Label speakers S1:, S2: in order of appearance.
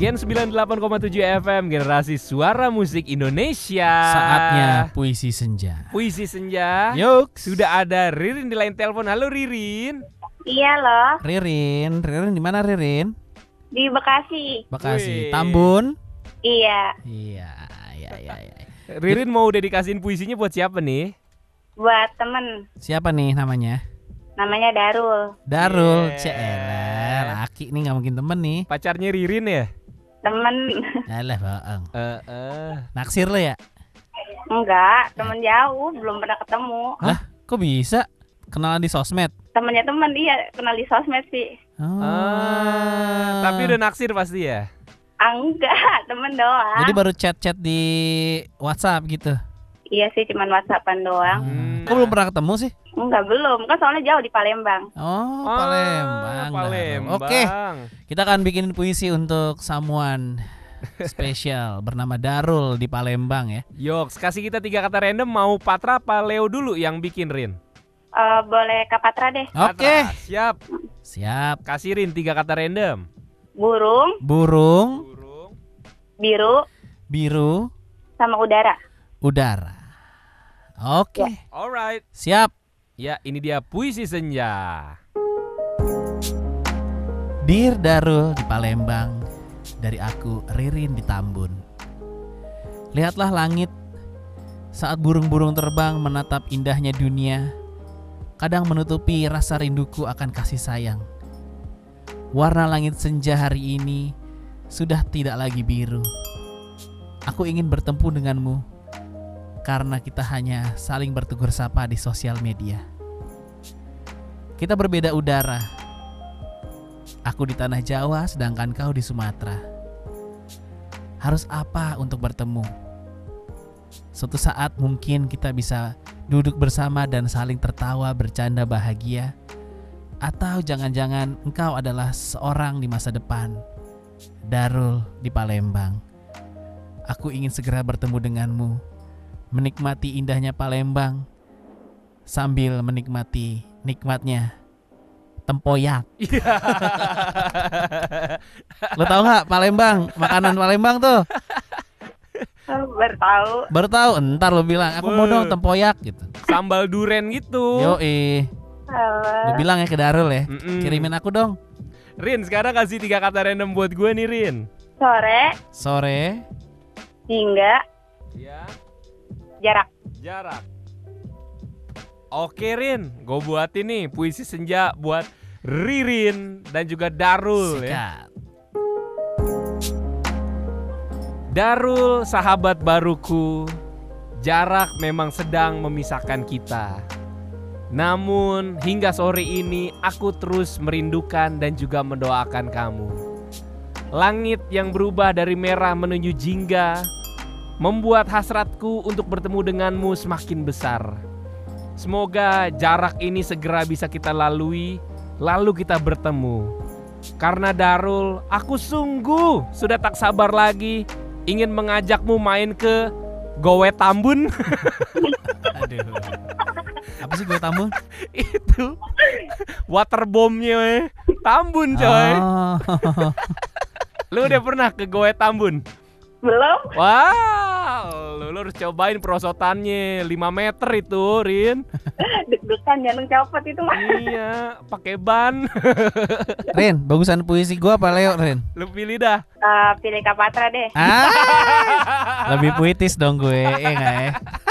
S1: Gen 98,7 FM Generasi Suara Musik Indonesia.
S2: Saatnya puisi senja.
S1: puisi senja.
S2: Yuk,
S1: Sudah ada Ririn di lain telepon. Halo Ririn.
S3: Iya loh,
S2: Ririn, Ririn di mana Ririn?
S3: di Bekasi.
S2: Bekasi,
S1: Wih.
S2: Tambun.
S3: Iya,
S2: Iya, iya, iya, iya.
S1: Ririn mau dedikasiin puisinya buat siapa nih?
S3: buat temen.
S2: Siapa nih namanya?
S3: Namanya Darul.
S2: Darul,
S1: Yeah.
S2: Cielah, laki nih nggak mungkin temen nih.
S1: Pacarnya Ririn ya?
S3: Temen,
S2: Alah, bohong.
S1: Eh, eh.
S2: Naksir lo ya?
S3: enggak, temen jauh, belum pernah ketemu.
S2: Hah? Kok bisa? Kenalan di sosmed?
S3: Temennya temen, iya, kenal di sosmed sih.
S2: Oh.
S1: Ah, Tapi udah naksir pasti ya?
S3: Ah, enggak, temen doang.
S2: Jadi baru chat-chat di WhatsApp gitu.
S3: Iya sih, cuman whatsappan doang.
S2: Hmm. Kok belum pernah ketemu sih?
S3: Enggak, belum. Kan soalnya jauh di Palembang.
S2: Oh,
S1: Ah,
S2: Palembang. Darul.
S1: Palembang.
S2: Oke, kita akan bikin puisi untuk someone spesial bernama Darul di Palembang ya.
S1: Yoks, kasih kita tiga kata random mau Patra apa Leo dulu yang bikin Rin?
S3: Eh, boleh ke Patra deh.
S2: Oke.
S1: Patra, siap.
S2: Siap.
S1: Kasih Rin tiga kata random.
S3: Burung,
S2: Burung,
S1: Burung.
S3: biru,
S2: biru,
S3: sama udara.
S2: udara. Oke.
S1: Alright.
S2: Siap.
S1: Ya, ini dia puisi senja.
S2: Dear Darul di Palembang, dari aku Ririn di Tambun. Lihatlah langit saat burung-burung terbang menatap indahnya dunia, kadang menutupi rasa rinduku akan kasih sayang. Warna langit senja hari ini sudah tidak lagi biru. Aku ingin bertemu denganmu karena kita hanya saling bertegur sapa di sosial media. Kita berbeda udara. Aku di tanah Jawa, sedangkan kau di Sumatera. Harus apa untuk bertemu? Suatu saat mungkin kita bisa duduk bersama dan saling tertawa, bercanda bahagia, atau jangan-jangan engkau adalah seorang di masa depan, Darul di Palembang. Aku ingin segera bertemu denganmu, menikmati indahnya Palembang sambil menikmati nikmatnya tempoyak.
S1: Iya.
S2: Lo tau nggak Palembang makanan Palembang tuh
S3: Oh, bertahu.
S2: baru tahu entar lo bilang aku mau dong tempoyak gitu.
S1: Sambal duren gitu.
S2: Yo eh lo bilang ya ke Darul ya
S1: Mm-mm.
S2: kirimin aku dong
S1: Rin, sekarang kasih tiga kata random buat gue nih, Rin.
S3: Sore,
S2: sore
S3: hingga
S1: Ya,
S3: jarak.
S1: jarak. Oke, Rin. Gue buatin nih puisi senja buat Ririn dan juga Darul ya.
S2: sikat.
S1: Darul, sahabat baruku, jarak memang sedang memisahkan kita. Namun, hingga sore ini aku terus merindukan dan juga mendoakan kamu. Langit yang berubah dari merah menuju jingga membuat hasratku untuk bertemu denganmu semakin besar. Semoga jarak ini segera bisa kita lalui, lalu kita bertemu. Karena Darul, aku sungguh sudah tak sabar lagi ingin mengajakmu main ke Gowe Tambun
S2: Aduh. Apa sih gue tamu?
S1: itu waterbombnya we. Tambun coy.
S2: Oh.
S1: Lu udah pernah ke Gowe Tambun?
S3: Belum?
S1: Wow, lu, lu harus cobain perosotannya 5 meter itu, Rin.
S3: Deg-degan jantung copot itu mah.
S1: iya, pakai ban.
S2: Rin, bagusan puisi gue apa Leo Rin?
S1: Lu pilih dah.
S3: Eh, pilih Kapatra deh.
S2: Ah, lebih puitis dong gue, iya nggak ya?